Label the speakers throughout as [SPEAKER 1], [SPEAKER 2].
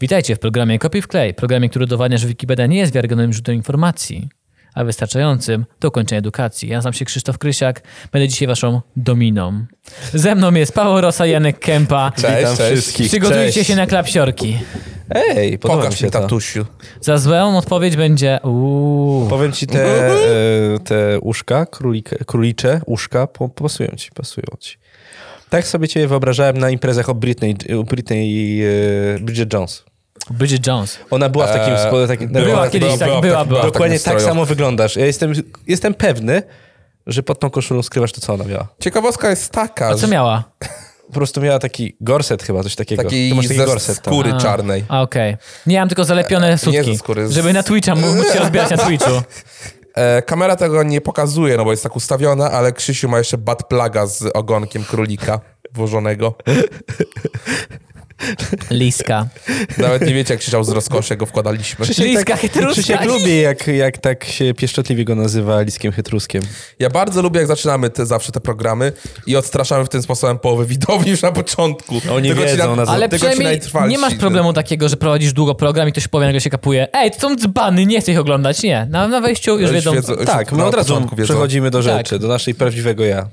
[SPEAKER 1] Witajcie w programie Kopi w Klej, programie, który udowadnia, że Wikipedia nie jest wiarygodnym źródłem informacji, a wystarczającym do kończenia edukacji. Ja nazywam się Krzysztof Krysiak, będę dzisiaj waszą dominą. Ze mną jest Paweł Rosa, Janek Kępa.
[SPEAKER 2] Cześć,
[SPEAKER 3] Witam
[SPEAKER 2] cześć.
[SPEAKER 3] wszystkich.
[SPEAKER 1] Przygotujcie
[SPEAKER 3] Cześć.
[SPEAKER 1] się na klapsiorki.
[SPEAKER 3] Ej, podoba mi
[SPEAKER 2] Pokaż
[SPEAKER 3] się
[SPEAKER 2] mi
[SPEAKER 3] to.
[SPEAKER 2] tatusiu.
[SPEAKER 1] Za złą odpowiedź będzie... Uuu.
[SPEAKER 3] Powiem ci, te, e, te uszka, królik, królicze uszka, po- pasują ci, pasują ci. Tak sobie cię wyobrażałem na imprezach o Britney, o Britney e, Bridget Jones.
[SPEAKER 1] Bridget Jones.
[SPEAKER 3] Ona była w takim...
[SPEAKER 2] Eee,
[SPEAKER 3] spo- taki,
[SPEAKER 1] E, była kiedyś tak, była, była.
[SPEAKER 2] w
[SPEAKER 3] Dokładnie
[SPEAKER 2] takim
[SPEAKER 3] tak
[SPEAKER 2] stroju.
[SPEAKER 3] samo wyglądasz. Ja jestem, jestem pewny, że pod tą koszulą skrywasz to, co ona miała.
[SPEAKER 2] Ciekawostka jest taka,
[SPEAKER 1] A co miała?
[SPEAKER 3] Po prostu miała taki gorset chyba, coś takiego.
[SPEAKER 2] Taki
[SPEAKER 3] Ty masz taki
[SPEAKER 2] ze
[SPEAKER 3] gorset no. tam.
[SPEAKER 2] skóry
[SPEAKER 1] A,
[SPEAKER 2] czarnej.
[SPEAKER 1] A, okej. Nie mam tylko zalepione sutki,
[SPEAKER 2] ze skóry, z-
[SPEAKER 1] żeby na Twitcha móc móc się rozbierać na Twitchu.
[SPEAKER 2] E, kamera tego nie pokazuje, no bo jest tak ustawiona, ale Krzysiu ma jeszcze bad plaga z ogonkiem królika włożonego.
[SPEAKER 1] Liska.
[SPEAKER 2] Nawet nie wiecie, jak krzyczał z rozkoszy, jak go wkładaliśmy.
[SPEAKER 1] Liska chytruska.
[SPEAKER 3] Tak, Krzysiek lubi, jak, jak tak się pieszczotliwie go nazywa Liskiem Chytruskiem.
[SPEAKER 2] Ja bardzo lubię, jak zaczynamy te, zawsze te programy i odstraszamy w ten sposobem połowę widowni już na początku.
[SPEAKER 1] No,
[SPEAKER 3] Oni
[SPEAKER 2] Tego ci
[SPEAKER 3] wiedzą,
[SPEAKER 2] na-
[SPEAKER 3] na co-
[SPEAKER 1] Ale
[SPEAKER 2] tego ci
[SPEAKER 1] przynajmniej
[SPEAKER 2] najtrwalsi-
[SPEAKER 1] nie masz problemu takiego, że prowadzisz długo program i ktoś powie, nagle się kapuje. Ej, to są dzbany, nie chcę ich oglądać. Nie, na, na wejściu już
[SPEAKER 2] Już
[SPEAKER 1] wiedzą,
[SPEAKER 2] wiedzą. Już
[SPEAKER 3] Tak, my
[SPEAKER 2] na
[SPEAKER 3] od razu
[SPEAKER 2] początku wiedzą.
[SPEAKER 3] przechodzimy do
[SPEAKER 1] Tak.
[SPEAKER 3] rzeczy, do naszej prawdziwego ja.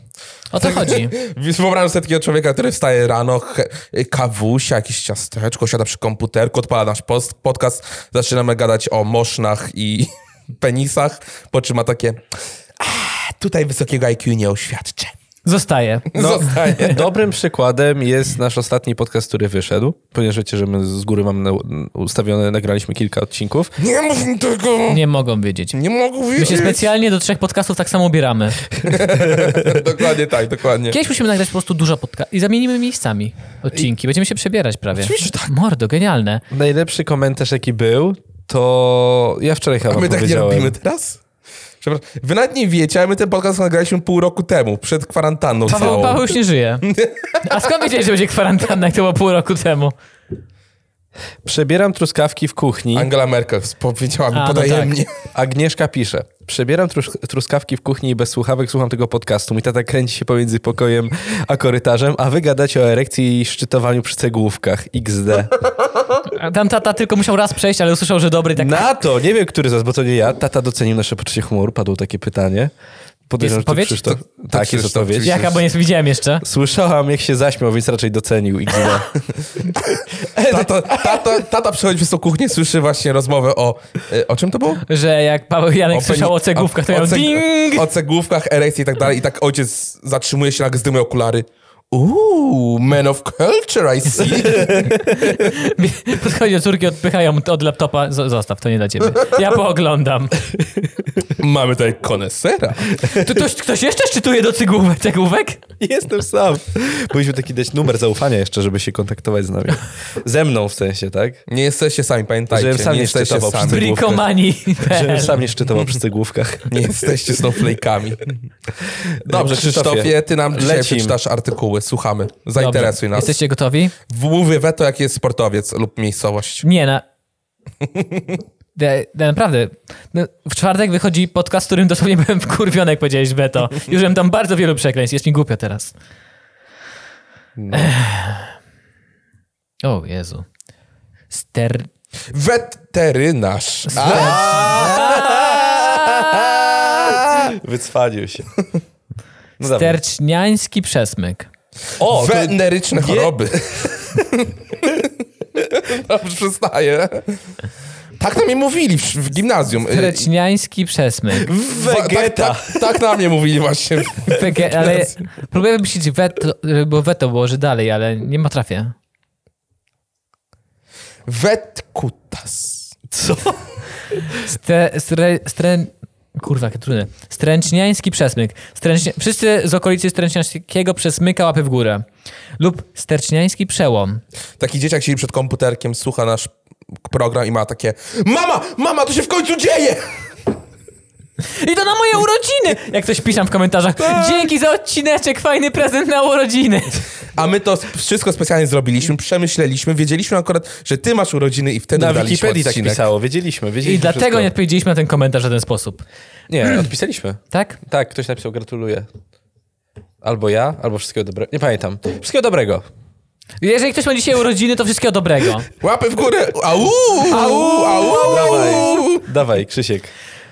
[SPEAKER 1] o
[SPEAKER 2] Tak.
[SPEAKER 1] co chodzi.
[SPEAKER 2] Wyobrażam sobie takiego człowieka, który wstaje rano, he- kawusia, jakieś ciasteczko, siada przy komputerku, odpala nasz post, podcast, zaczynamy gadać o mosznach i penisach, po czym ma takie "A, tutaj wysokiego IQ nie oświadczę.
[SPEAKER 1] Zostaje.
[SPEAKER 2] Zostaje.
[SPEAKER 3] Dobrym przykładem jest nasz ostatni podcast, który wyszedł, ponieważ wiecie, że my z góry mamy na, ustawione, nagraliśmy kilka odcinków.
[SPEAKER 2] Nie mów mi tego! Nie,
[SPEAKER 1] Nie mogą wiedzieć.
[SPEAKER 2] mogę
[SPEAKER 1] My się
[SPEAKER 2] wiedzieć.
[SPEAKER 1] specjalnie do trzech podcastów tak samo ubieramy.
[SPEAKER 2] Dokładnie tak, dokładnie.
[SPEAKER 1] Kiedyś musimy nagrać po prostu dużo podcastów i zamienimy miejscami odcinki. Będziemy się przebierać prawie.
[SPEAKER 2] tak.
[SPEAKER 1] Mordo, genialne.
[SPEAKER 3] Najlepszy komentarz, jaki był, to ja wczoraj chyba
[SPEAKER 2] A my tak nie
[SPEAKER 3] powiedziałem.
[SPEAKER 2] robimy teraz? Przepraszam. Wy nawet nie wiecie, ale my ten podcast nagraliśmy pół roku temu, przed kwarantanną
[SPEAKER 1] Paweł,
[SPEAKER 2] całą.
[SPEAKER 1] Paweł już nie żyje. A skąd wiedziałeś, że będzie kwarantanna, jak to było pół roku temu?
[SPEAKER 3] Przebieram truskawki w kuchni.
[SPEAKER 2] Angela Merkel powiedziała mi
[SPEAKER 1] A, no
[SPEAKER 2] podajemnie.
[SPEAKER 3] Agnieszka pisze. Przebieram trus- truskawki w kuchni i bez słuchawek słucham tego podcastu. Mój tata kręci się pomiędzy pokojem a korytarzem, a wy gadacie o erekcji i szczytowaniu przy cegłówkach. XD.
[SPEAKER 1] A Tam tata tylko musiał raz przejść, ale usłyszał, że dobry i tak...
[SPEAKER 3] Na to, nie wiem, który z nas, bo to nie ja. Tata docenił nasze poczucie humoru, padło takie pytanie. Podejrzewam,
[SPEAKER 1] Jest
[SPEAKER 3] że to
[SPEAKER 1] odpowiedź?
[SPEAKER 3] Krzysztof.
[SPEAKER 2] To- to
[SPEAKER 3] tak, jest
[SPEAKER 2] Krzysztof,
[SPEAKER 3] odpowiedź.
[SPEAKER 2] oczywiście.
[SPEAKER 1] Jaka, bo nie widziałem jeszcze.
[SPEAKER 3] Słyszałam, jak się zaśmiał, więc raczej docenił i gdzie.
[SPEAKER 2] Tato, tato, tata przechodzi przez tą kuchnię, słyszy właśnie rozmowę o... e, O czym to było?
[SPEAKER 1] że jak Paweł Janek
[SPEAKER 2] O
[SPEAKER 1] słyszał
[SPEAKER 2] peni-
[SPEAKER 1] o cegłówkach, to
[SPEAKER 2] o-
[SPEAKER 1] miał
[SPEAKER 2] o ceg-
[SPEAKER 1] ding!
[SPEAKER 2] O cegłówkach, erekcji i tak dalej. I tak ojciec zatrzymuje się, nagle zdymuje okulary. Uuu, man of culture, I see.
[SPEAKER 1] Podchodzi do córki, odpychają od laptopa. "Zo- Zostaw, to nie dla ciebie. Ja pooglądam.
[SPEAKER 2] Mamy tutaj konesera.
[SPEAKER 1] Tu ktoś, ktoś jeszcze szczytuje do cegłówek? cegłówek?
[SPEAKER 3] Jestem sam. Powinniśmy taki dać numer zaufania jeszcze, żeby się kontaktować z nami. Ze mną w sensie, tak?
[SPEAKER 2] Nie jesteście sami, pamiętajcie.
[SPEAKER 3] Żebym sam nie
[SPEAKER 2] jesteście
[SPEAKER 3] szczytował przy
[SPEAKER 2] sami.
[SPEAKER 3] cegłówkach.
[SPEAKER 1] Brikomani.
[SPEAKER 3] Żebym sam nie szczytował przy cegłówkach.
[SPEAKER 2] Nie jesteście snowflake'ami. Dobrze, Krzysztofie, ty nam dzisiaj
[SPEAKER 3] Lecim.
[SPEAKER 2] przeczytasz artykuły. Słuchamy. Zainteresuj nas.
[SPEAKER 1] Jesteście gotowi?
[SPEAKER 2] Mówię weto, jaki jest sportowiec lub miejscowość.
[SPEAKER 1] Nie, na... De, de, naprawdę. No, w czwartek wychodzi podcast, w którym dosłownie byłem wkurwiony, jak powiedziałeś Beto. Już mam tam bardzo wielu przekleństw. Jest mi głupio teraz. Ech. O Jezu. Ster...
[SPEAKER 2] Weterynarz.
[SPEAKER 3] Wycwalił się. No dobra.
[SPEAKER 1] Sterczniański przesmyk.
[SPEAKER 2] O,
[SPEAKER 3] O, to-
[SPEAKER 2] Weneryczne choroby. Dobrze, przestaję. Tak na mnie mówili w, w gimnazjum. Y,
[SPEAKER 1] Tereczniański przesmyk.
[SPEAKER 2] wa-
[SPEAKER 3] Wegeta.
[SPEAKER 2] Tak, tak, tak na mnie mówili właśnie.
[SPEAKER 1] Peke, Tak, ale próbuję myśleć weto, bo weto było, że dalej, ale nie ma trafię.
[SPEAKER 2] Wetkutas.
[SPEAKER 3] Co?
[SPEAKER 1] Stre, stre, stren, kurwa, jakie trudne. Stręczniański przesmyk. Stręcznie, wszyscy z okolicy stręczniańskiego przesmyka łapy w górę. Lub sterczniański przełom.
[SPEAKER 2] Taki dzieciak siedzi przed komputerkiem, słucha nasz program i ma takie Mama! Mama, to się w końcu dzieje!
[SPEAKER 1] I to na moje urodziny! Jak ktoś pisze w komentarzach. Dzięki za odcineczek, fajny prezent na urodziny.
[SPEAKER 2] A my to sp- wszystko specjalnie zrobiliśmy, przemyśleliśmy, wiedzieliśmy akurat, że ty masz urodziny i wtedy
[SPEAKER 3] Na
[SPEAKER 2] daliśmy
[SPEAKER 3] Wikipedii tak
[SPEAKER 2] odcinek.
[SPEAKER 3] pisało, wiedzieliśmy. wiedzieliśmy
[SPEAKER 1] I dlatego nie
[SPEAKER 3] wszystko.
[SPEAKER 1] odpowiedzieliśmy na ten komentarz w żaden sposób.
[SPEAKER 3] Nie, odpisaliśmy.
[SPEAKER 1] Tak?
[SPEAKER 3] Tak, ktoś napisał gratuluję. Albo ja, albo wszystkiego dobrego. Nie pamiętam. Wszystkiego dobrego.
[SPEAKER 1] Jeżeli ktoś ma dzisiaj urodziny, to wszystkiego dobrego.
[SPEAKER 2] Łapy w górę! Au! Au! Au!
[SPEAKER 3] Dawaj, dawaj, Krzysiek.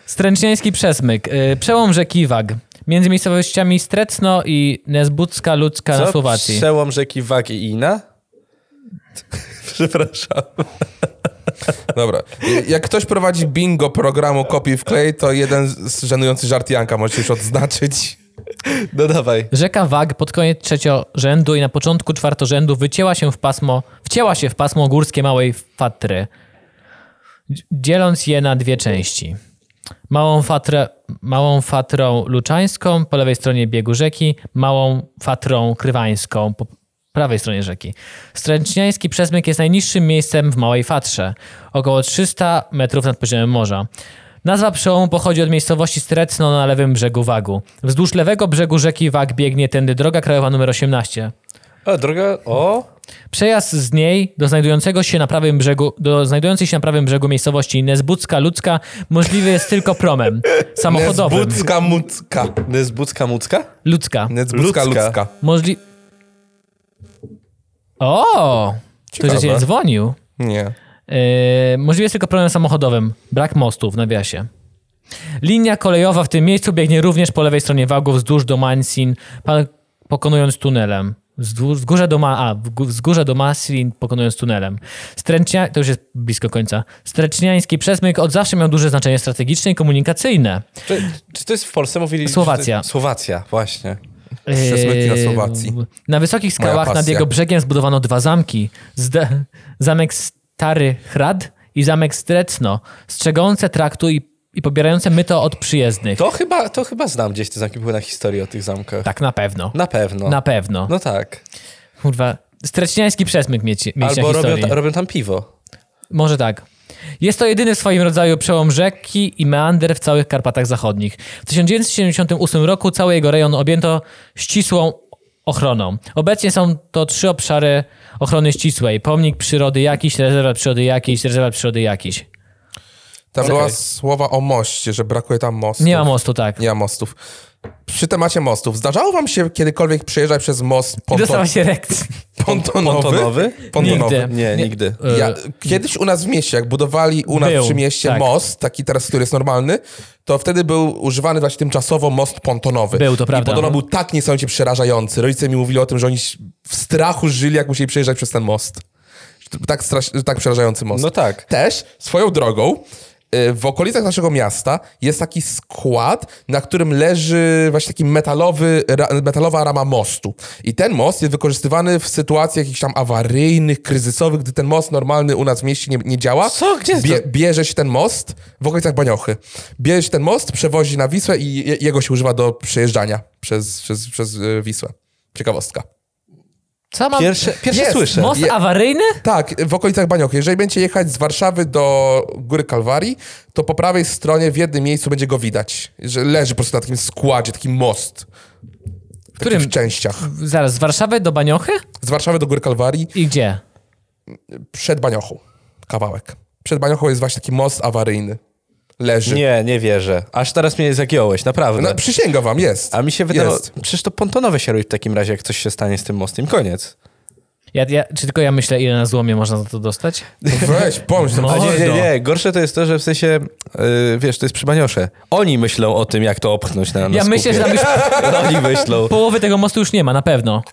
[SPEAKER 1] Stręczyński przesmyk. Y, Przełom rzeki Wag. Między miejscowościami Strecno i Nezbudzka Ludzka na
[SPEAKER 3] Co?
[SPEAKER 1] Słowacji.
[SPEAKER 3] Przełom rzeki Wag i Ina? Przepraszam.
[SPEAKER 2] Dobra. Jak ktoś prowadzi bingo programu Kopiuj w klej, to jeden z żenujący żart Janka możecie już odznaczyć.
[SPEAKER 3] No dawaj.
[SPEAKER 1] Rzeka Wag pod koniec trzeciorzędu i na początku czwartorzędu wycięła się w pasmo, wcięła się w pasmo górskie Małej Fatry, dz- dzieląc je na dwie części. Małą, fatrę, małą Fatrą Luczańską po lewej stronie biegu rzeki, Małą Fatrą Krywańską po prawej stronie rzeki. Stręczniański przesmyk jest najniższym miejscem w Małej Fatrze, około 300 metrów nad poziomem morza. Nazwa przełomu pochodzi od miejscowości Strecno na lewym brzegu Wagu. Wzdłuż lewego brzegu rzeki Wag biegnie tędy droga krajowa nr 18.
[SPEAKER 3] O, droga, o.
[SPEAKER 1] Przejazd z niej do znajdującego się na prawym brzegu, do znajdującej się na prawym brzegu miejscowości Nezbudzka Ludzka możliwy jest tylko promem samochodowym.
[SPEAKER 2] Nezbudzka mucka.
[SPEAKER 3] Nezbudzka Mucka?
[SPEAKER 1] Ludzka.
[SPEAKER 2] Nezbudzka
[SPEAKER 3] Ludzka.
[SPEAKER 2] ludzka.
[SPEAKER 1] Możli... O! Ktoś do
[SPEAKER 2] Ciekawe.
[SPEAKER 1] ciebie dzwonił.
[SPEAKER 2] Nie.
[SPEAKER 1] Yy, możliwy jest tylko problem samochodowym. Brak mostu w nawiasie. Linia kolejowa w tym miejscu biegnie również po lewej stronie wagu wzdłuż do Mansin, pan- pokonując tunelem. Wzdłuż, wzgórze do Ma, a, wgó- wzgórze do Maslin pokonując tunelem. Stręcznia, to już jest blisko końca. Stręczniański przesmyk od zawsze miał duże znaczenie strategiczne i komunikacyjne.
[SPEAKER 3] Czy, czy to jest w Polsce? Mówili, że
[SPEAKER 1] Słowacja.
[SPEAKER 3] To, Słowacja, właśnie.
[SPEAKER 2] Przesmyki na
[SPEAKER 1] Eee,
[SPEAKER 2] Słowacji.
[SPEAKER 1] Na wysokich
[SPEAKER 2] Moja
[SPEAKER 1] skałach nad
[SPEAKER 2] pasja.
[SPEAKER 1] jego brzegiem zbudowano dwa zamki. Zde, zamek Stary Hrad i zamek Strecno, strzegące traktu i, i pobierające myto od przyjezdnych.
[SPEAKER 3] To chyba, to chyba znam gdzieś te zamki, były na historii o tych zamkach.
[SPEAKER 1] Tak, na pewno.
[SPEAKER 3] Na pewno.
[SPEAKER 1] Na pewno.
[SPEAKER 3] No tak.
[SPEAKER 1] Kurwa, streczniański przesmyk mieć, mieć
[SPEAKER 3] Albo robią,
[SPEAKER 1] historii.
[SPEAKER 3] ta, robią tam piwo.
[SPEAKER 1] Może tak. Jest to jedyny w swoim rodzaju przełom rzeki i meander w całych Karpatach Zachodnich. W 1978 roku cały jego rejon objęto ścisłą ochroną. Obecnie są to trzy obszary ochrony ścisłej. Pomnik przyrody jakiś, rezerwat przyrody jakiś, rezerwat przyrody jakiś.
[SPEAKER 2] Tam była słowa o moście, że brakuje tam mostu.
[SPEAKER 1] Nie ma mostu, tak.
[SPEAKER 2] Nie ma mostów. Przy temacie mostów. Zdarzało wam się kiedykolwiek przejeżdżać przez most
[SPEAKER 1] I
[SPEAKER 2] ponton...
[SPEAKER 1] dostała się rekcji.
[SPEAKER 2] pontonowy?
[SPEAKER 3] Pontonowy?
[SPEAKER 2] Pontonowy.
[SPEAKER 1] Nigdy.
[SPEAKER 3] Nie,
[SPEAKER 1] Nie.
[SPEAKER 3] nigdy.
[SPEAKER 2] Ja,
[SPEAKER 1] E,
[SPEAKER 2] kiedyś u nas w mieście, jak budowali u nas
[SPEAKER 1] Był,
[SPEAKER 2] przy mieście
[SPEAKER 1] tak.
[SPEAKER 2] most, taki teraz, który jest normalny, to wtedy był używany właśnie tymczasowo most pontonowy.
[SPEAKER 1] Był, to prawda. no.
[SPEAKER 2] I podobno był tak niesamowicie przerażający. Rodzice mi mówili o tym, że oni w strachu żyli, jak musieli przejeżdżać przez ten most. Że to- Tak, strasz, że tak przerażający most.
[SPEAKER 3] No tak.
[SPEAKER 2] Też swoją drogą y, w okolicach naszego miasta jest taki skład, na którym leży właśnie taki metalowy, ra, metalowa rama mostu. I ten most jest wykorzystywany w sytuacjach jakichś tam awaryjnych, kryzysowych, gdy ten most normalny u nas w mieście nie, nie działa.
[SPEAKER 3] Co? Gdzie jest
[SPEAKER 2] Bie,
[SPEAKER 3] to?
[SPEAKER 2] bierze się ten most w okolicach Baniochy. Bierze się ten most, przewozi na Wisłę i je, jego się używa do przejeżdżania przez, przez, przez y, Wisłę. Ciekawostka.
[SPEAKER 1] Co mam?
[SPEAKER 3] Pierwsze, pierwsze
[SPEAKER 2] Jest.
[SPEAKER 3] słyszę.
[SPEAKER 1] Most
[SPEAKER 2] Je-
[SPEAKER 1] awaryjny?
[SPEAKER 2] Tak, w okolicach Baniochy. Jeżeli będziecie jechać z Warszawy do Góry Kalwarii, to po prawej stronie w jednym miejscu będzie go widać. Że leży po prostu na takim składzie, taki most. W
[SPEAKER 1] którym?
[SPEAKER 2] którym? W częściach.
[SPEAKER 1] Zaraz, z Warszawy do Baniochy?
[SPEAKER 2] Z Warszawy do Góry Kalwarii,
[SPEAKER 1] I gdzie?
[SPEAKER 2] przed Baniochą. Kawałek. Przed Baniochą jest właśnie taki most awaryjny. Leży.
[SPEAKER 3] Nie, nie wierzę. Aż teraz mnie zagiąłeś, naprawdę.
[SPEAKER 2] No, przysięgam wam, jest.
[SPEAKER 3] A mi się wydawało,
[SPEAKER 2] Jest.
[SPEAKER 3] przecież to pontonowe się robi w takim razie, jak coś się stanie z tym mostem. Koniec.
[SPEAKER 1] Ja, ja, czy tylko ja myślę, ile na złomie można za to dostać?
[SPEAKER 2] Weź, pomyśl.
[SPEAKER 1] No.
[SPEAKER 2] No.
[SPEAKER 3] A nie, nie,
[SPEAKER 1] Mordo.
[SPEAKER 3] nie. Gorsze to jest to, że w sensie, yy, wiesz, to jest przy Baniosze. Oni myślą o tym, jak to opchnąć na, na
[SPEAKER 1] Ja myślę, że tam już
[SPEAKER 3] że... Oni myślą.
[SPEAKER 1] połowy tego mostu już nie ma, na pewno.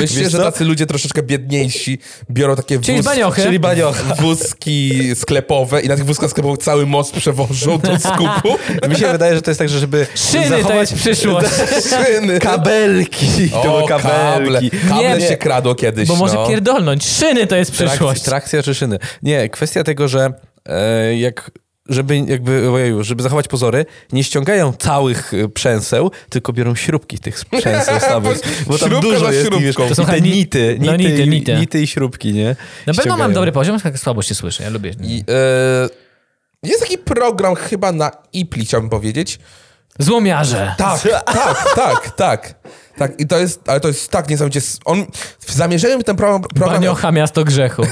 [SPEAKER 2] Myślicie,
[SPEAKER 3] Wiesz
[SPEAKER 2] że
[SPEAKER 3] co?
[SPEAKER 2] tacy ludzie troszeczkę biedniejsi biorą takie
[SPEAKER 1] Czyli
[SPEAKER 2] wóz-
[SPEAKER 1] Baniochy.
[SPEAKER 3] Czyli Baniocha.
[SPEAKER 2] wózki sklepowe i na tych wózkach sklepowych cały most przewożą do skupu.
[SPEAKER 3] Mi się wydaje, że to jest tak, że żeby
[SPEAKER 1] Szyny to
[SPEAKER 3] zachować
[SPEAKER 1] jest przyszłość.
[SPEAKER 2] Szyny.
[SPEAKER 3] kabelki. to były
[SPEAKER 2] O,
[SPEAKER 3] kabelki.
[SPEAKER 2] Kable, kable
[SPEAKER 1] Nie, nie.
[SPEAKER 2] się kradło kiedyś.
[SPEAKER 1] Bo może
[SPEAKER 2] no.
[SPEAKER 1] pierdolnąć. Szyny to jest
[SPEAKER 3] Trakcja,
[SPEAKER 1] przyszłość.
[SPEAKER 3] trakcja czy szyny. Nie, kwestia tego, że e, jak żeby, jakby, ojeju, żeby zachować pozory, nie ściągają całych e, przęseł, tylko biorą śrubki tych przęseł samych. Bo tam
[SPEAKER 2] Śrubka
[SPEAKER 3] dużo
[SPEAKER 2] za
[SPEAKER 3] jest
[SPEAKER 2] śrubką.
[SPEAKER 3] i wiesz,
[SPEAKER 2] To
[SPEAKER 1] są
[SPEAKER 3] i te
[SPEAKER 1] chyba ni-
[SPEAKER 3] nity,
[SPEAKER 1] no,
[SPEAKER 3] nity,
[SPEAKER 1] nity,
[SPEAKER 3] i,
[SPEAKER 1] nity.
[SPEAKER 3] nity i śrubki, nie?
[SPEAKER 1] Na pewno mam
[SPEAKER 3] Ściągają.
[SPEAKER 1] dobry poziom, tak słabo się słyszę. Ja lubię.
[SPEAKER 2] I, e, jest taki program chyba na Ipli, chciałbym powiedzieć.
[SPEAKER 1] Złomiarze.
[SPEAKER 2] Tak, tak, tak, tak. Tak, i to jest, ale to jest tak niesamowicie. s- On w zamierzeniu ten program, program miał,
[SPEAKER 1] Baniocha miasto grzechu.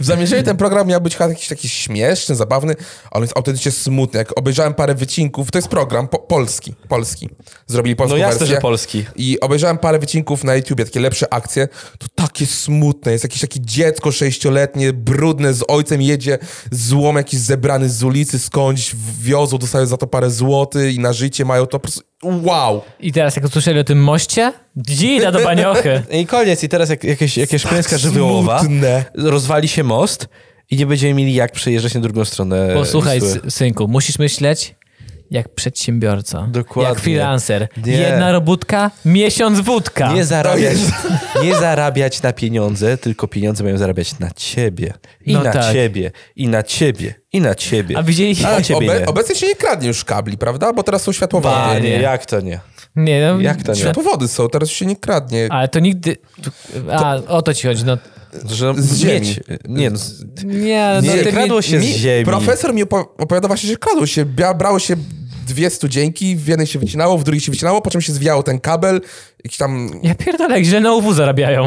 [SPEAKER 2] w zamierzeniu ten program miał być jakiś taki śmieszny, zabawny, ale on jest autentycznie smutny. Jak obejrzałem parę wycinków, to jest program po, polski, polski. Zrobili polską
[SPEAKER 3] No jasne,
[SPEAKER 2] wersję.
[SPEAKER 3] że polski.
[SPEAKER 2] I obejrzałem parę wycinków na YouTubie, takie lepsze akcje, to takie smutne. Jest jakieś takie dziecko sześcioletnie, brudne, z ojcem jedzie, złom jakiś zebrany z ulicy skądś, wiozą, dostają za to parę złotych i na życie mają to po prostu... Wow!
[SPEAKER 1] I teraz jak usłyszeli o tym moście, dzida do baniochy.
[SPEAKER 3] I koniec. I teraz jak, jakieś, jakieś
[SPEAKER 1] Tak
[SPEAKER 3] klęska żywiołowa,
[SPEAKER 2] smutne.
[SPEAKER 3] rozwali się most i nie będziemy mieli jak przejeżdżać na drugą stronę
[SPEAKER 1] Posłuchaj,
[SPEAKER 3] Wisły.
[SPEAKER 1] sy- synku, musisz myśleć jak przedsiębiorca.
[SPEAKER 3] Dokładnie.
[SPEAKER 1] Jak freelancer.
[SPEAKER 3] Nie.
[SPEAKER 1] Jedna robótka, miesiąc wódka.
[SPEAKER 3] Nie zarabiać,
[SPEAKER 2] jest-
[SPEAKER 3] nie zarabiać na pieniądze, tylko pieniądze mają zarabiać na ciebie. I
[SPEAKER 1] No
[SPEAKER 3] na
[SPEAKER 1] tak.
[SPEAKER 3] ciebie, i na ciebie, i na ciebie. Tak,
[SPEAKER 1] A widzieli-
[SPEAKER 3] A na
[SPEAKER 1] Ale
[SPEAKER 3] ciebie
[SPEAKER 2] Obe,
[SPEAKER 3] nie.
[SPEAKER 2] obecnie się nie kradnie już kabli, prawda? Bo teraz są światłowody.
[SPEAKER 3] A
[SPEAKER 1] Panie.
[SPEAKER 3] nie, jak to nie?
[SPEAKER 1] nie no,
[SPEAKER 3] Jak to nie?
[SPEAKER 1] świat-
[SPEAKER 2] Światłowody są, teraz już się nie kradnie.
[SPEAKER 1] Ale to nigdy... A, o to ci chodzi. No,
[SPEAKER 3] Że
[SPEAKER 2] Z ziemi.
[SPEAKER 3] mieć- Nie, no, z-
[SPEAKER 1] nie, no,
[SPEAKER 3] Nie,
[SPEAKER 1] ty mi-
[SPEAKER 3] kradło się z
[SPEAKER 2] Mi-
[SPEAKER 3] ziemi.
[SPEAKER 2] Profesor mi opo- opowiadał właśnie, że kradło się, bia- brało się dwie studzienki, w jednej się wycinało, w drugiej się wycinało, po czym się zwijało ten kabel, jakiś tam
[SPEAKER 1] Ja pierdolę, jak źle na UW zarabiają.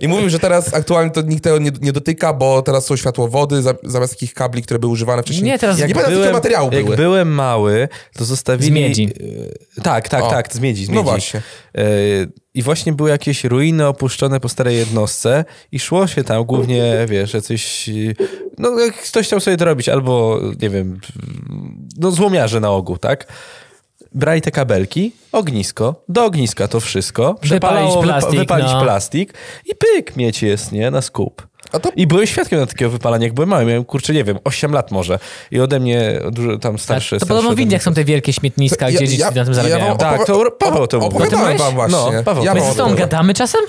[SPEAKER 2] I mówił, że teraz aktualnie to nikt tego nie, nie dotyka, bo teraz są światłowody za, zamiast takich kabli, które były używane wcześniej.
[SPEAKER 1] Nie, teraz-
[SPEAKER 2] nie
[SPEAKER 1] Jak
[SPEAKER 2] pamiętam, jakie to materiały
[SPEAKER 3] jak
[SPEAKER 2] były.
[SPEAKER 3] byłem mały, to zostawili...
[SPEAKER 1] Z miedzi.
[SPEAKER 3] E, Tak, tak,
[SPEAKER 2] O.
[SPEAKER 3] tak, z miedzi, z
[SPEAKER 2] No
[SPEAKER 3] miedzi.
[SPEAKER 2] właśnie.
[SPEAKER 3] E, I właśnie były jakieś ruiny opuszczone po starej jednostce i szło się tam głównie, wiesz, jacyś... e, No, jak ktoś chciał sobie to robić, albo, nie wiem, no złomiarze na ogół, tak? Brali te kabelki, ognisko, do ogniska to wszystko, przepalało, wypa-
[SPEAKER 1] plastik,
[SPEAKER 3] wypalić
[SPEAKER 1] no.
[SPEAKER 3] plastik i pyk, mieć jest, nie, na skup.
[SPEAKER 2] A to-
[SPEAKER 3] I byłem świadkiem na takiego wypalania, jak byłem mały. Miałem, kurczę, nie wiem, 8 lat może. I ode mnie dużo tam starsze.
[SPEAKER 1] to
[SPEAKER 3] starsze
[SPEAKER 1] podobno w
[SPEAKER 3] ode mnie-
[SPEAKER 1] Indiach są te wielkie śmietniska,
[SPEAKER 2] Ja-
[SPEAKER 1] gdzie dzieci
[SPEAKER 2] ja-
[SPEAKER 1] na tym
[SPEAKER 2] ja wam
[SPEAKER 1] zarabiają.
[SPEAKER 2] opowi-
[SPEAKER 3] Tak, to Paweł to
[SPEAKER 2] op-
[SPEAKER 3] mówił.
[SPEAKER 2] Opowiadałem
[SPEAKER 1] No to
[SPEAKER 2] wam
[SPEAKER 3] byłeś?
[SPEAKER 2] właśnie.
[SPEAKER 3] No, Paweł.
[SPEAKER 2] ja
[SPEAKER 1] My
[SPEAKER 2] wam
[SPEAKER 1] ze sobą
[SPEAKER 2] opowiadałem.
[SPEAKER 1] gadamy czasem?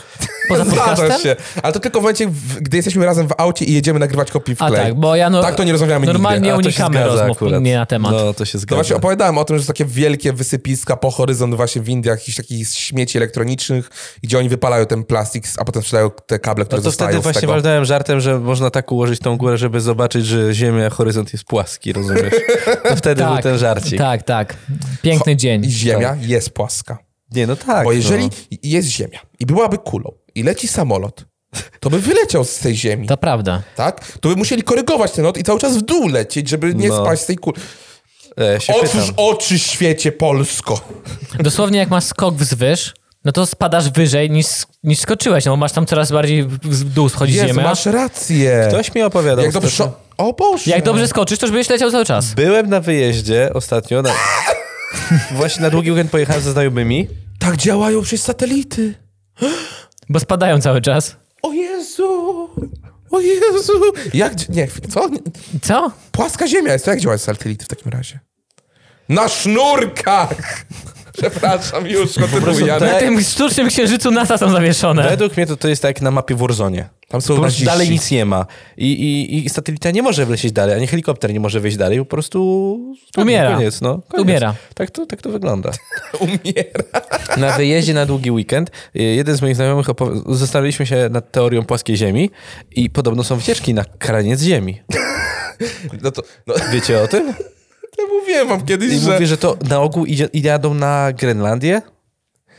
[SPEAKER 1] Poza podcastem?
[SPEAKER 2] Zdarza się. Ale to tylko w momencie, w- gdy jesteśmy razem w aucie i jedziemy nagrywać kopii w
[SPEAKER 1] A
[SPEAKER 2] klej.
[SPEAKER 1] tak, bo ja no,
[SPEAKER 2] Tak to nie rozmawiamy
[SPEAKER 1] normalnie
[SPEAKER 2] nigdy.
[SPEAKER 3] A, to się
[SPEAKER 1] unikamy
[SPEAKER 3] zgadza
[SPEAKER 1] rozmów nie na temat.
[SPEAKER 3] No, to się
[SPEAKER 2] No
[SPEAKER 3] zgadza.
[SPEAKER 2] właśnie opowiadałem o tym, że są takie wielkie wysypiska po horyzont właśnie w Indiach, jakichś takich śmieci elektronicznych, gdzie oni wypalają ten plastik, a potem sprzedają te kable, które
[SPEAKER 3] no to
[SPEAKER 2] zostają
[SPEAKER 3] wtedy
[SPEAKER 2] z
[SPEAKER 3] właśnie
[SPEAKER 2] tego.
[SPEAKER 3] walnąłem żartem, że można tak ułożyć tą górę, żeby zobaczyć, że ziemia, horyzont jest płaski, rozumiesz? To wtedy był ten żarcik.
[SPEAKER 1] Tak, tak. Piękny dzień.
[SPEAKER 2] I ziemia
[SPEAKER 3] Tak.
[SPEAKER 2] jest płaska.
[SPEAKER 3] Nie, no tak.
[SPEAKER 2] Bo jeżeli
[SPEAKER 3] No.
[SPEAKER 2] jest ziemia i byłaby kulą i leci samolot, to by wyleciał z tej ziemi,
[SPEAKER 1] To prawda.
[SPEAKER 2] tak? To by musieli korygować ten lot i cały czas w dół lecieć, żeby nie
[SPEAKER 3] No.
[SPEAKER 2] spaść z tej kuli.
[SPEAKER 3] E, się
[SPEAKER 2] Otwórz
[SPEAKER 3] pytam.
[SPEAKER 2] oczy świecie Polsko.
[SPEAKER 1] Dosłownie jak masz skok wzwyż, no to spadasz wyżej niż, niż skoczyłeś, no bo masz tam coraz bardziej w- w dół schodzi
[SPEAKER 2] Jezu,
[SPEAKER 1] ziemia.
[SPEAKER 2] masz rację.
[SPEAKER 3] Ktoś mi opowiadał.
[SPEAKER 2] Jak dobrze...
[SPEAKER 3] ostatnio-
[SPEAKER 2] O Boże.
[SPEAKER 1] Jak dobrze skoczysz, to już byś leciał cały czas.
[SPEAKER 3] Byłem na wyjeździe ostatnio. Na... właśnie na długi weekend pojechałem ze znajomymi.
[SPEAKER 2] Tak działają przecież satelity.
[SPEAKER 1] Bo spadają cały czas.
[SPEAKER 2] O Jezu. O Jezu. Jak... dzi- Nie, chwilę, co? Nie-
[SPEAKER 1] Co?
[SPEAKER 2] Płaska ziemia jest. To jak działają satelity w takim razie? Na sznurkach. Przepraszam, już kontynuuj, Janek.
[SPEAKER 1] Na
[SPEAKER 3] Ej.
[SPEAKER 1] tym sztucznym księżycu NASA są zawieszone.
[SPEAKER 3] Według mnie to, to jest tak jak na mapie w Warzonie.
[SPEAKER 2] Tam są
[SPEAKER 3] Po prostu
[SPEAKER 2] naziści.
[SPEAKER 3] dalej nic nie ma. I, i, I satelita nie może wlecieć dalej, ani helikopter nie może wyjść dalej, po prostu...
[SPEAKER 1] Umiera.
[SPEAKER 3] Koniec, no. Koniec.
[SPEAKER 1] Umiera.
[SPEAKER 3] Tak to, tak to wygląda.
[SPEAKER 2] Umiera.
[SPEAKER 3] Na wyjeździe na długi weekend y, jeden z moich znajomych opowi- zastanawialiśmy się nad teorią płaskiej ziemi i podobno są wycieczki na kraniec ziemi.
[SPEAKER 2] No to... No,
[SPEAKER 3] Wiecie o tym?
[SPEAKER 2] ja mówiłem wam kiedyś,
[SPEAKER 3] I
[SPEAKER 2] że...
[SPEAKER 3] mówię, że to na ogół idzie, i jadą na Grenlandię.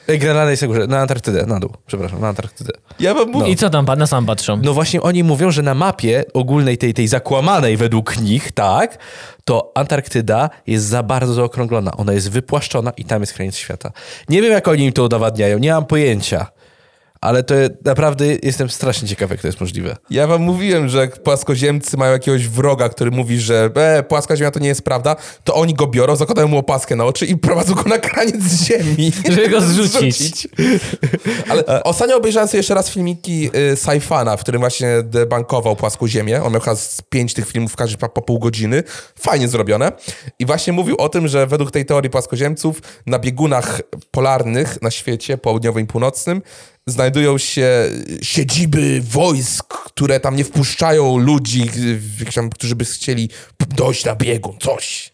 [SPEAKER 3] E, Grenlandia jest na górze, na Antarktydę, na dół, przepraszam, na Antarktydę.
[SPEAKER 2] Ja wam mówię...
[SPEAKER 1] I co tam, pa- na sam patrzą.
[SPEAKER 3] No właśnie oni mówią, że na mapie ogólnej tej, tej zakłamanej według nich, tak, to Antarktyda jest za bardzo zaokrąglona. Ona jest wypłaszczona i tam jest kraniec świata. Nie wiem, jak oni im to udowadniają, nie mam pojęcia. Ale to naprawdę jestem strasznie ciekaw, jak to jest możliwe.
[SPEAKER 2] Ja wam mówiłem, że jak płaskoziemcy mają jakiegoś wroga, który mówi, że e, płaska ziemia to nie jest prawda, to oni go biorą, zakładają mu opaskę na oczy i prowadzą go na kraniec ziemi.
[SPEAKER 1] Żeby go zrzucić.
[SPEAKER 2] Ale ostatnio obejrzałem sobie jeszcze raz filmiki y, Saifana, w którym właśnie debankował płaską ziemię. On miał chyba z pięć tych filmów, każdy po, po pół godziny. Fajnie zrobione. I właśnie mówił o tym, że według tej teorii płaskoziemców na biegunach polarnych na świecie południowym i północnym znajdują się siedziby wojsk, które tam nie wpuszczają ludzi, y, tam, którzy by chcieli p- dojść na biegun, coś.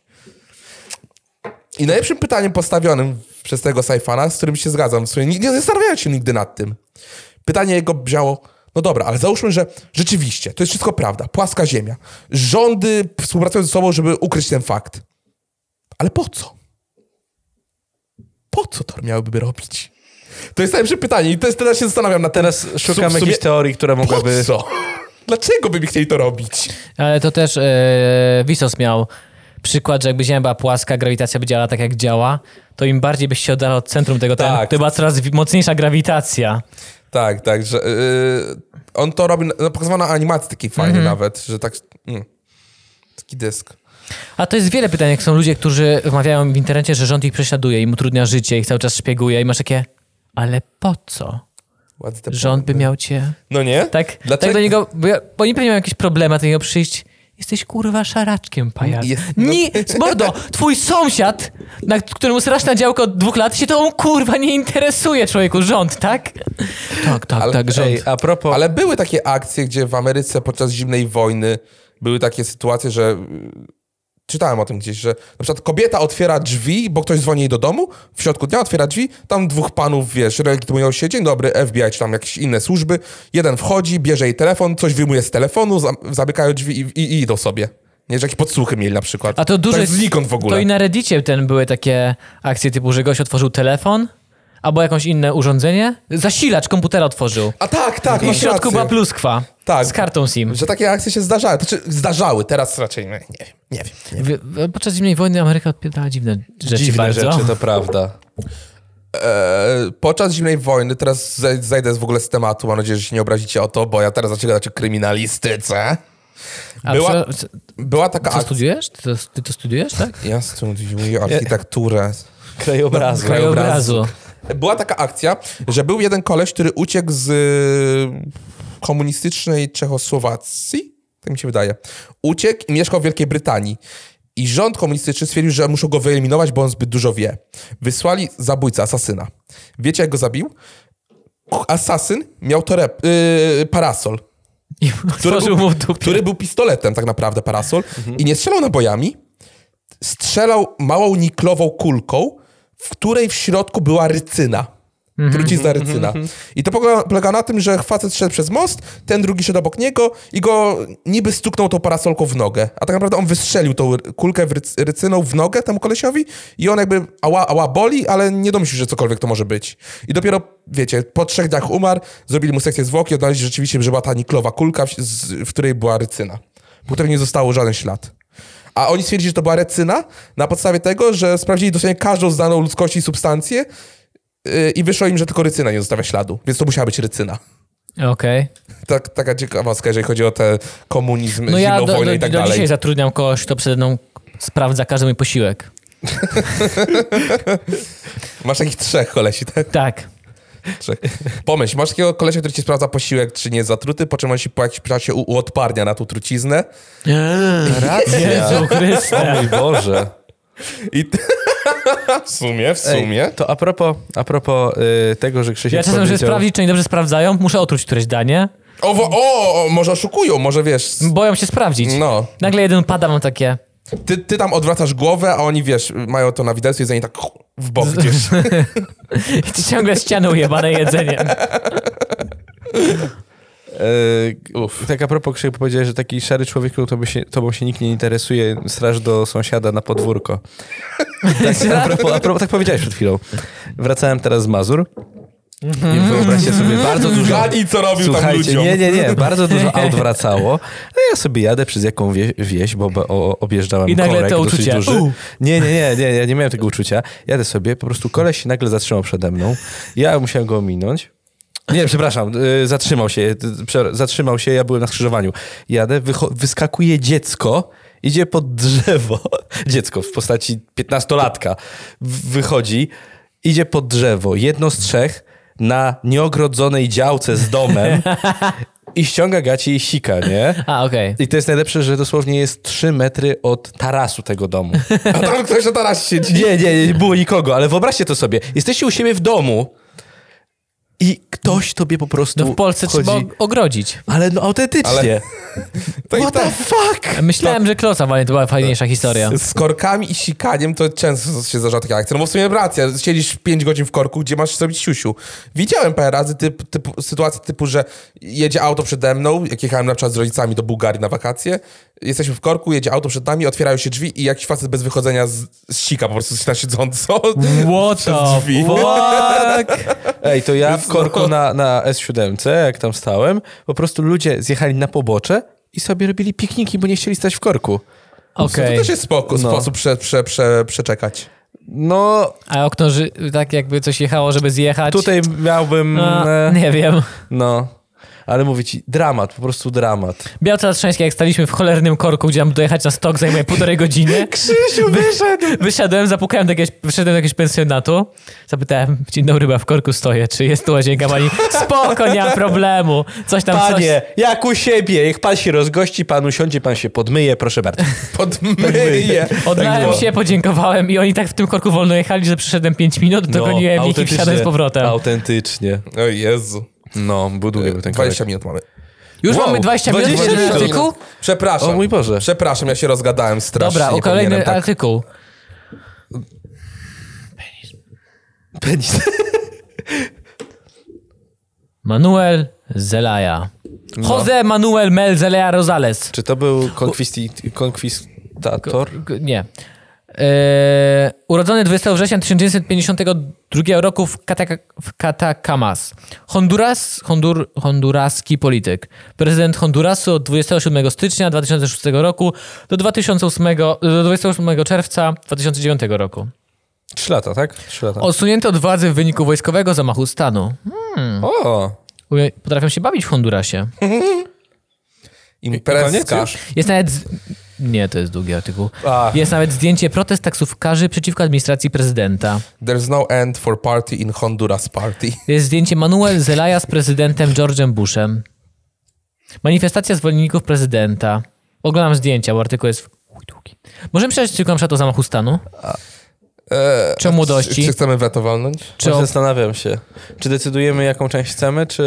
[SPEAKER 2] I najlepszym pytaniem postawionym przez tego Saifana, z którym się zgadzam, w sumie nie, nie zastanawiałem się nigdy nad tym. Pytanie jego brzmiało, no dobra, ale załóżmy, że rzeczywiście, to jest wszystko prawda, płaska ziemia. Rządy współpracują ze sobą, żeby ukryć ten fakt. Ale po co? po co to miałyby robić? To jest najlepsze pytanie i to jest, teraz się zastanawiam na ten
[SPEAKER 3] Teraz szukam
[SPEAKER 2] sumie-
[SPEAKER 3] jakiejś teorii, która
[SPEAKER 2] po
[SPEAKER 3] mogłaby...
[SPEAKER 2] co? Dlaczego by mi chcieli to robić?
[SPEAKER 1] Ale to też e, Wisos miał przykład, że jakby Ziemia była płaska, grawitacja by działała tak, jak działa, to im bardziej byś się oddalał od centrum tego
[SPEAKER 2] Tak.
[SPEAKER 1] tak. to była coraz wi- mocniejsza grawitacja.
[SPEAKER 2] Tak, tak, że yy, on to robi, no, pokazywano animacji takiej fajnej
[SPEAKER 1] Mhm.
[SPEAKER 2] nawet, że tak, mm, taki dysk.
[SPEAKER 1] A to jest wiele pytań, jak są ludzie, którzy wmawiają w internecie, że rząd ich prześladuje, im utrudnia życie, ich cały czas szpieguje i masz takie, ale po co?
[SPEAKER 2] What's the
[SPEAKER 1] Rząd by miał cię...
[SPEAKER 2] No nie?
[SPEAKER 1] Tak, tak
[SPEAKER 2] Dlaczego?
[SPEAKER 1] do niego, bo, ja, bo oni pewnie mają jakieś problemy, a do niego przyjść. Jesteś kurwa szaraczkiem, pajac.
[SPEAKER 2] Jest- no-
[SPEAKER 1] Nie, mordo, twój sąsiad, na któremu strasz na działko od dwóch lat, się tą kurwa nie interesuje, człowieku, rząd, tak? Tak, tak,
[SPEAKER 2] Ale-
[SPEAKER 1] tak, rząd.
[SPEAKER 3] Ej, a propos...
[SPEAKER 2] Ale były takie akcje, gdzie w Ameryce podczas zimnej wojny były takie sytuacje, że yy, czytałem o tym gdzieś, że na przykład kobieta otwiera drzwi, bo ktoś dzwoni jej do domu, w środku dnia otwiera drzwi, tam dwóch panów, wiesz, legitymują się, dzień dobry, FBI czy tam jakieś inne służby, jeden wchodzi, bierze jej telefon, coś wyjmuje z telefonu, zam- zamykają drzwi i, i, i idą sobie. Nie, że jakieś podsłuchy mieli na przykład.
[SPEAKER 1] A to duże.
[SPEAKER 2] Tak znikąd w ogóle.
[SPEAKER 1] To i na Reddicie ten były takie akcje typu, że gość otworzył telefon albo jakąś inne urządzenie. Zasilacz komputera otworzył.
[SPEAKER 2] A tak, tak,
[SPEAKER 1] I w
[SPEAKER 2] masz
[SPEAKER 1] środku
[SPEAKER 2] rację.
[SPEAKER 1] była pluskwa.
[SPEAKER 2] Tak.
[SPEAKER 1] Z kartą SIM.
[SPEAKER 2] Że takie akcje się zdarzały. Znaczy, zdarzały, teraz raczej nie, nie wiem. Nie wiem. Nie wiem.
[SPEAKER 1] W- w- Podczas zimnej wojny Ameryka odpierdała dziwne rzeczy
[SPEAKER 3] Dziwne
[SPEAKER 1] bardzo.
[SPEAKER 3] rzeczy, to prawda.
[SPEAKER 2] E, podczas zimnej wojny, teraz zej- zejdę w ogóle z tematu, mam nadzieję, że się nie obrazicie o to, bo ja teraz zaczynam gadać o kryminalistyce.
[SPEAKER 1] A
[SPEAKER 2] Była-
[SPEAKER 1] była... co,
[SPEAKER 2] Była taka
[SPEAKER 1] co E,
[SPEAKER 2] akcja...
[SPEAKER 1] studiujesz? Ty to, ty to studiujesz, tak?
[SPEAKER 2] Ja studiuję architekturę.
[SPEAKER 3] Krajobrazu.
[SPEAKER 1] krajobrazu.
[SPEAKER 2] Była taka akcja, że był jeden koleś, który uciekł z y, komunistycznej Czechosłowacji, tak mi się wydaje. Uciekł i mieszkał w Wielkiej Brytanii. I rząd komunistyczny stwierdził, że muszą go wyeliminować, bo on zbyt dużo wie. Wysłali zabójcę, asasyna. Wiecie, jak go zabił? K- Asasyn miał toreb, y, parasol,
[SPEAKER 1] I
[SPEAKER 2] Który
[SPEAKER 1] otworzył
[SPEAKER 2] był-
[SPEAKER 1] mu w dupie. Mhm.
[SPEAKER 2] który był pistoletem tak naprawdę, parasol. I nie strzelał nabojami, strzelał małą niklową kulką, w której w środku była rycyna. Trucizna rycyna. I to polega- polega na tym, że facet szedł przez most, ten drugi szedł obok niego i go niby stuknął tą parasolką w nogę. A tak naprawdę on wystrzelił tą ry- kulkę w ryc- rycyną w nogę temu kolesiowi i on jakby ała, ała boli, ale nie domyślił, że cokolwiek to może być. I dopiero, wiecie, po trzech dniach umarł, zrobili mu sekcję zwłoki, odnaleźli rzeczywiście, że była ta niklowa kulka, w, z, w której była rycyna. Po której nie zostało żaden ślad. A oni stwierdzili, że to była recyna na podstawie tego, że sprawdzili dosłownie każdą znaną ludzkości substancję yy, i wyszło im, że tylko rycyna nie zostawia śladu. Więc to musiała być rycyna.
[SPEAKER 1] Okej.
[SPEAKER 2] Tak, taka ciekawostka, jeżeli chodzi o te komunizm,
[SPEAKER 1] No
[SPEAKER 2] zimną
[SPEAKER 1] ja do,
[SPEAKER 2] wojnę
[SPEAKER 1] do,
[SPEAKER 2] i tak
[SPEAKER 1] do
[SPEAKER 2] dalej.
[SPEAKER 1] dzisiaj zatrudniam kogoś, kto przede mną sprawdza każdy mój posiłek.
[SPEAKER 2] Masz takich trzech kolesi, tak?
[SPEAKER 1] Tak.
[SPEAKER 2] Trzech. Pomyśl, masz takiego kolesia, który ci sprawdza posiłek, czy nie jest zatruty, po czym on się po jakimś czasie u- uodparnia na tą truciznę
[SPEAKER 1] Jezu
[SPEAKER 3] O
[SPEAKER 1] Chryste.
[SPEAKER 3] mój Boże.
[SPEAKER 2] i... w sumie, w sumie.
[SPEAKER 3] Ej, to a propos, a propos y, tego, że Krzysiek
[SPEAKER 1] Ja czasem,
[SPEAKER 3] powiedział...
[SPEAKER 1] żeby sprawdzić, czy oni dobrze sprawdzają, muszę otruć któreś danie.
[SPEAKER 2] O, wo- o, o, może oszukują, może wiesz...
[SPEAKER 1] Boją się sprawdzić.
[SPEAKER 2] No.
[SPEAKER 1] Nagle jeden pada, mam takie...
[SPEAKER 2] Ty, ty tam odwracasz głowę, a oni, wiesz, mają to na widelcu i za nie tak w bok gdzieś.
[SPEAKER 1] Ciągle ścianą jebane jedzeniem.
[SPEAKER 3] E, Tak a propos Krzysiek powiedziałeś, że taki szary człowiek, to by się, tobą się nikt nie interesuje, straż do sąsiada na podwórko. tak, a propos, a propos, tak powiedziałeś przed chwilą. Wracałem teraz z Mazur.
[SPEAKER 1] Mhm.
[SPEAKER 3] I wyobraźcie sobie, bardzo dużo...
[SPEAKER 2] Zgadnij, co robił tam
[SPEAKER 3] Słuchajcie,
[SPEAKER 2] ludziom.
[SPEAKER 3] nie, nie, nie, bardzo dużo aut wracało. No ja sobie jadę przez jaką wieś, wieś bo bo- o, objeżdżałem
[SPEAKER 1] I nagle
[SPEAKER 3] korek
[SPEAKER 1] to
[SPEAKER 3] dosyć
[SPEAKER 1] uczucie.
[SPEAKER 3] duży.
[SPEAKER 1] U.
[SPEAKER 3] Nie, nie, nie, nie, ja nie miałem tego uczucia. Jadę sobie, po prostu koleś się nagle zatrzymał przede mną. Ja musiałem go ominąć. Nie, przepraszam, y, zatrzymał się, y, prze- zatrzymał się, ja byłem na skrzyżowaniu. Jadę, wycho- wyskakuje dziecko, idzie pod drzewo, dziecko w postaci piętnastolatka, w- wychodzi, idzie pod drzewo, jedno z trzech, na nieogrodzonej działce z domem i ściąga gaci i sika, nie?
[SPEAKER 1] A, okej.
[SPEAKER 3] I to jest najlepsze, że dosłownie jest 3 metry od tarasu tego domu.
[SPEAKER 2] A tam ktoś na teraz siedzi.
[SPEAKER 3] Nie, nie, nie było nikogo, ale wyobraźcie to sobie. Jesteście u siebie w domu i ktoś tobie po prostu
[SPEAKER 1] No w Polsce
[SPEAKER 3] wchodzi,
[SPEAKER 1] trzeba og- ogrodzić.
[SPEAKER 3] Ale no autentycznie.
[SPEAKER 2] Ale- To i
[SPEAKER 3] What the
[SPEAKER 2] tak.
[SPEAKER 3] fuck?
[SPEAKER 1] Myślałem, że Klosa walnie to była fajniejsza historia.
[SPEAKER 2] Z korkami i sikaniem to często się zdarza taka akcja. No bo w sumie racja, siedzisz 5 godzin w korku, gdzie masz zrobić siusiu. Widziałem parę razy typ, typu, sytuację typu, że jedzie auto przede mną, jak jechałem na przykład z rodzicami do Bułgarii na wakacje, jesteśmy w korku, jedzie auto przed nami, otwierają się drzwi i jakiś facet bez wychodzenia z, z sika po prostu na siedząco
[SPEAKER 1] What
[SPEAKER 2] przez
[SPEAKER 1] the
[SPEAKER 2] drzwi. No
[SPEAKER 1] fuck?
[SPEAKER 3] tak. Ej, to ja w
[SPEAKER 2] Znowu.
[SPEAKER 3] korku na, na S7, jak tam stałem, po prostu ludzie zjechali na pobocze i sobie robili pikniki, bo nie chcieli stać w korku.
[SPEAKER 2] To
[SPEAKER 1] Okej.
[SPEAKER 2] też jest spoko,
[SPEAKER 3] No.
[SPEAKER 2] sposób prze, prze, prze, przeczekać.
[SPEAKER 3] No,
[SPEAKER 1] A okno, ży- tak jakby coś jechało, żeby zjechać.
[SPEAKER 3] tutaj miałbym...
[SPEAKER 1] No,
[SPEAKER 3] e,
[SPEAKER 1] nie wiem.
[SPEAKER 3] No, ale mówię ci, dramat, po prostu dramat.
[SPEAKER 1] Białca Latrzańska, jak staliśmy w cholernym korku, gdzie mam dojechać na stok, zajmuje półtorej godziny.
[SPEAKER 3] Krzysiu wyszedł!
[SPEAKER 1] Wysiadłem, zapukałem do jakiegoś, wyszedłem do jakiegoś pensjonatu. Zapytałem, dzień dobry, bo ja w korku stoję, czy jest tu łazienka? Pani, spoko, nie ma problemu. Coś tam,
[SPEAKER 3] Panie, jak u siebie, jak pan się rozgości, pan usiądzie, pan się podmyje, proszę bardzo.
[SPEAKER 2] Podmyję.
[SPEAKER 1] coś.
[SPEAKER 3] Tak
[SPEAKER 1] Odlałem się, podziękowałem i oni tak w tym korku wolno jechali, że przyszedłem 5 minut, dogoniłem ich i
[SPEAKER 3] No, autentycznie,
[SPEAKER 1] wsiadłem z powrotem. E,
[SPEAKER 3] Autentycznie.
[SPEAKER 2] O Jezu.
[SPEAKER 3] No, był długi był ten
[SPEAKER 2] 20 minut mamy.
[SPEAKER 1] Już
[SPEAKER 3] Wow,
[SPEAKER 1] mamy 20 minut
[SPEAKER 3] 20
[SPEAKER 1] na
[SPEAKER 3] minut.
[SPEAKER 1] artykuł?
[SPEAKER 2] Przepraszam.
[SPEAKER 3] O mój Boże.
[SPEAKER 2] Przepraszam, ja się rozgadałem strasznie.
[SPEAKER 1] Dobra, o
[SPEAKER 2] nie powinienem
[SPEAKER 1] kolejny
[SPEAKER 2] tak.
[SPEAKER 1] artykuł.
[SPEAKER 3] Penis.
[SPEAKER 1] Manuel Zelaya. Jose Manuel Mel Zelaya Rosales.
[SPEAKER 3] Czy to był konkwisti- konkwistator?
[SPEAKER 1] G- Nie. Eee, urodzony 20 września 1952 roku w, Kataka, w Katakamas. Honduras, Hondur, honduraski polityk. Prezydent Hondurasu od 27 stycznia 2006 roku do, 2008, do 28 czerwca 2009 roku.
[SPEAKER 3] Trzy lata, tak? Trzy lata.
[SPEAKER 1] Odsunięty od władzy w wyniku wojskowego zamachu stanu.
[SPEAKER 3] O!
[SPEAKER 1] Uje- Potrafią się bawić w Hondurasie.
[SPEAKER 3] Koniec
[SPEAKER 2] Imprezka.
[SPEAKER 3] już?
[SPEAKER 1] Jest nawet. Z... Nie, to jest długi artykuł.
[SPEAKER 3] A.
[SPEAKER 1] Jest nawet zdjęcie protest taksówkarzy przeciwko administracji prezydenta.
[SPEAKER 2] There's no end for party in Honduras party.
[SPEAKER 1] Jest zdjęcie Manuel Zelaya z prezydentem George'em Bushem. Manifestacja zwolenników prezydenta. Oglądam zdjęcia, bo artykuł jest chuj długi. Możemy przeczytać tylko na przykład o zamachu stanu? Czy o
[SPEAKER 2] E, Czy,
[SPEAKER 1] młodości?
[SPEAKER 2] czy chcemy weto walnąć?
[SPEAKER 1] Czy o...
[SPEAKER 3] Zastanawiam się, czy decydujemy, jaką część chcemy, czy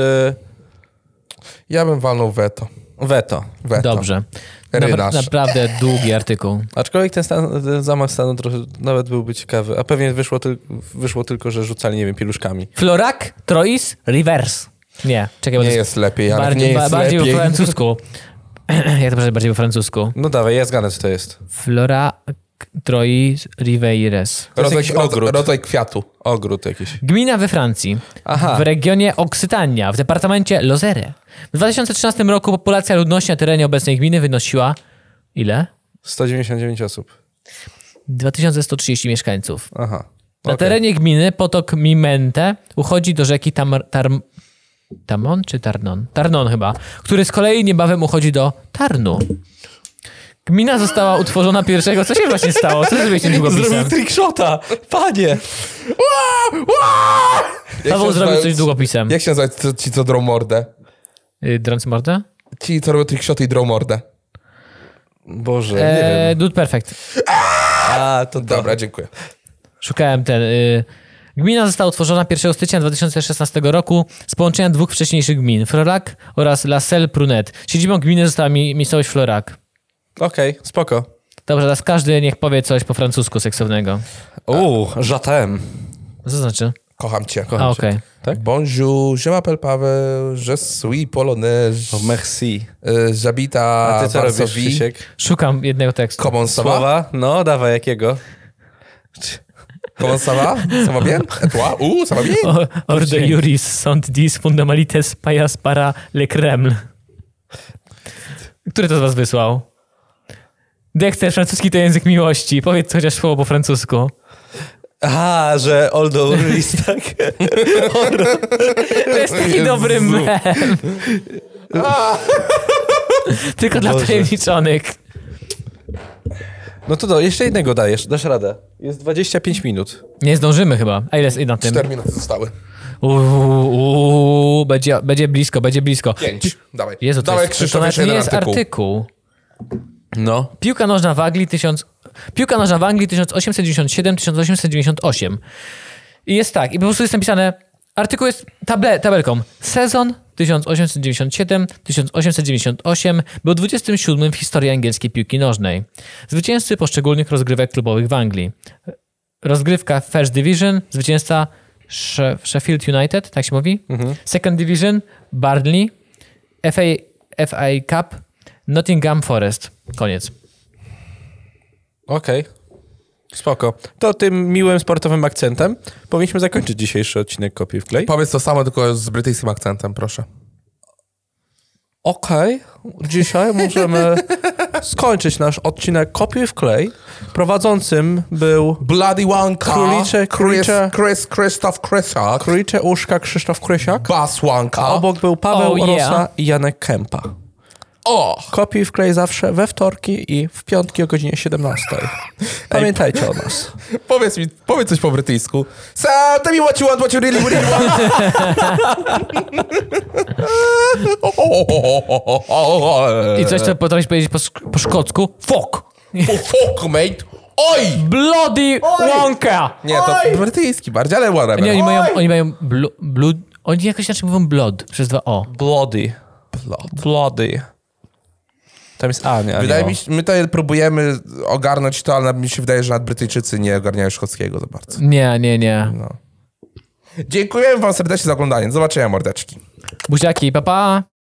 [SPEAKER 2] Ja bym walnął weto.
[SPEAKER 3] weto.
[SPEAKER 2] weto.
[SPEAKER 1] Dobrze.
[SPEAKER 2] Rylarz.
[SPEAKER 1] Napra- naprawdę długi artykuł.
[SPEAKER 3] Aczkolwiek ten, stan, ten zamach stanu trochę, nawet byłby ciekawy, a pewnie wyszło, tyl, wyszło tylko, że rzucali, nie wiem, pieluszkami.
[SPEAKER 1] Florak, Trois, Reverse. Nie, czekaj, bo
[SPEAKER 2] Nie
[SPEAKER 1] to
[SPEAKER 2] jest lepiej, ale
[SPEAKER 1] bardziej,
[SPEAKER 2] nie
[SPEAKER 1] ba-
[SPEAKER 2] jest
[SPEAKER 1] bardziej po
[SPEAKER 2] lepiej.
[SPEAKER 1] francusku. Jak to przeczytać bardziej po francusku?
[SPEAKER 3] No dawaj, ja zgadnę, co to jest.
[SPEAKER 1] Flora Trois Riveires.
[SPEAKER 3] To jest
[SPEAKER 2] Rodzaj,
[SPEAKER 3] jakiś
[SPEAKER 2] rodzaj,
[SPEAKER 3] ogród.
[SPEAKER 2] rodzaj kwiatu.
[SPEAKER 3] Ogród jakiś.
[SPEAKER 1] Gmina we Francji,
[SPEAKER 3] Aha.
[SPEAKER 1] w regionie Oksytania, w departamencie Lozere. W 2013 roku populacja ludności na terenie obecnej gminy wynosiła ile?
[SPEAKER 3] 199 osób.
[SPEAKER 1] 2130 mieszkańców.
[SPEAKER 3] Aha.
[SPEAKER 1] Na
[SPEAKER 3] Okej.
[SPEAKER 1] terenie gminy potok Mimente uchodzi do rzeki Tamar, Tarm, Tamon czy Tarnon? Tarnon chyba, który z kolei niebawem uchodzi do Tarnu. Gmina została utworzona pierwszego. Co się właśnie stało? Co zrobiłeś tym długopisem?
[SPEAKER 3] Zrobił trickshota! Panie!
[SPEAKER 2] Jak
[SPEAKER 1] Paweł
[SPEAKER 2] się
[SPEAKER 1] zrobił
[SPEAKER 2] nazywają-
[SPEAKER 1] coś długopisem.
[SPEAKER 2] Jak się nazywa ci- ci, co drą mordę?
[SPEAKER 1] Y, Drący mordę?
[SPEAKER 2] Ci, co robią trickshoty i drą mordę.
[SPEAKER 3] Boże, nie
[SPEAKER 1] Eee,
[SPEAKER 3] wiem.
[SPEAKER 1] Dude Perfect.
[SPEAKER 3] A, to
[SPEAKER 1] Tak.
[SPEAKER 2] Dobra, dziękuję.
[SPEAKER 1] Szukałem ten. Y... Gmina została utworzona 1 stycznia 2016 roku z połączenia dwóch wcześniejszych gmin, Florac oraz La Selle Prunet. Siedzibą gminy została mi miejscowość Florac.
[SPEAKER 3] Okej, spoko.
[SPEAKER 1] Dobrze, teraz każdy niech powie coś po francusku seksownego.
[SPEAKER 3] Uuu, żatem.
[SPEAKER 1] Co to znaczy?
[SPEAKER 2] Kocham cię.
[SPEAKER 1] A, okej.
[SPEAKER 3] Tak?
[SPEAKER 2] Bonjour, je m'appelle Paweł, je suis polonais,
[SPEAKER 3] Merci.
[SPEAKER 2] y, j'habite
[SPEAKER 3] A ty
[SPEAKER 2] à
[SPEAKER 3] co robisz,
[SPEAKER 2] Varsovie.
[SPEAKER 3] Krzysiek?
[SPEAKER 1] Szukam jednego tekstu.
[SPEAKER 2] Comment ça va?
[SPEAKER 3] Słowa? No, dawaj, jakiego?
[SPEAKER 2] Comment ça va? Ça va bien? Et toi? Ouh, ça va bien?
[SPEAKER 1] O- Orde juris sunt dis fundamentalites paias para le Kreml. Który to z was wysłał? Dexter, francuski to język miłości. Powiedz chociaż słowo po francusku.
[SPEAKER 3] A, że Oldo Ruiz, tak?
[SPEAKER 1] To jest taki dobry mem. Tylko dla
[SPEAKER 3] Boże.
[SPEAKER 1] tajemniczonych.
[SPEAKER 3] No to do, jeszcze jednego dajesz, dasz radę. Jest 25 minut.
[SPEAKER 1] Nie zdążymy chyba. A ile jest na tym?
[SPEAKER 2] Cztery minuty zostały.
[SPEAKER 1] Uuu, uuu, będzie, będzie blisko, będzie blisko.
[SPEAKER 2] Pięć. Dawaj.
[SPEAKER 1] Jezu, to,
[SPEAKER 2] Dawaj,
[SPEAKER 1] jest, to,
[SPEAKER 2] Krzysztof,
[SPEAKER 1] to nawet
[SPEAKER 2] jeszcze
[SPEAKER 1] nie
[SPEAKER 2] jeden
[SPEAKER 1] jest
[SPEAKER 2] artykuł.
[SPEAKER 1] artykuł.
[SPEAKER 3] No.
[SPEAKER 1] Piłka nożna w Anglii 1000 Piłka nożna w Anglii 1897-1898. I jest tak, i po prostu jest napisane artykuł jest table, tabelką. Sezon 1897-1898 był 27 w historii angielskiej piłki nożnej. Zwycięzcy poszczególnych rozgrywek klubowych w Anglii. Rozgrywka First Division, zwycięzca She- Sheffield United, tak się mówi. Second Division, Burnley. FA, FA Cup, Nottingham Forest. Koniec.
[SPEAKER 3] Okej. Spoko. To tym miłym sportowym akcentem powinniśmy zakończyć dzisiejszy odcinek Kopii w klej.
[SPEAKER 2] Powiedz to samo, tylko z brytyjskim akcentem, proszę.
[SPEAKER 3] Okej, dzisiaj możemy skończyć nasz odcinek Kopii w klej. Prowadzącym był
[SPEAKER 2] Bloody Wanka.
[SPEAKER 3] Królicze, królicze.
[SPEAKER 2] Chris, Chris, Krzysztof Krysiak.
[SPEAKER 3] Krycie Uszka Krzysztof Krysiak,
[SPEAKER 2] Bas
[SPEAKER 3] a
[SPEAKER 2] Wanka.
[SPEAKER 3] obok był Paweł
[SPEAKER 1] Oh, yeah.
[SPEAKER 3] Rosa i Janek Kępa.
[SPEAKER 2] O!
[SPEAKER 3] Kopii w klej zawsze we wtorki i w piątki o godzinie 17. Pamiętajcie o nas.
[SPEAKER 2] Powiedz mi, powiedz coś po brytyjsku. Sam, tell me what you want, what you really, really want.
[SPEAKER 1] I coś, co potrafisz powiedzieć po, sk- po szkocku? Fuck!
[SPEAKER 2] Oh, fuck, mate. Oj!
[SPEAKER 1] Bloody Wonka!
[SPEAKER 2] Nie, to brytyjski bardziej, ale whatever.
[SPEAKER 1] Nie, oni
[SPEAKER 2] Oj!
[SPEAKER 1] mają, oni mają blu, blu, oni jakoś inaczej mówią blood przez dwa o.
[SPEAKER 3] Bloody. Bloody. Tam jest A, nie, a
[SPEAKER 2] Wydaje
[SPEAKER 3] nie
[SPEAKER 2] mi się, my tutaj próbujemy ogarnąć to, ale mi się wydaje, że nad Brytyjczycy nie ogarniają szkockiego za bardzo.
[SPEAKER 1] Nie, nie, nie.
[SPEAKER 2] Dziękujemy wam serdecznie za oglądanie. Do zobaczenia, mordeczki.
[SPEAKER 1] Buziaki, pa pa!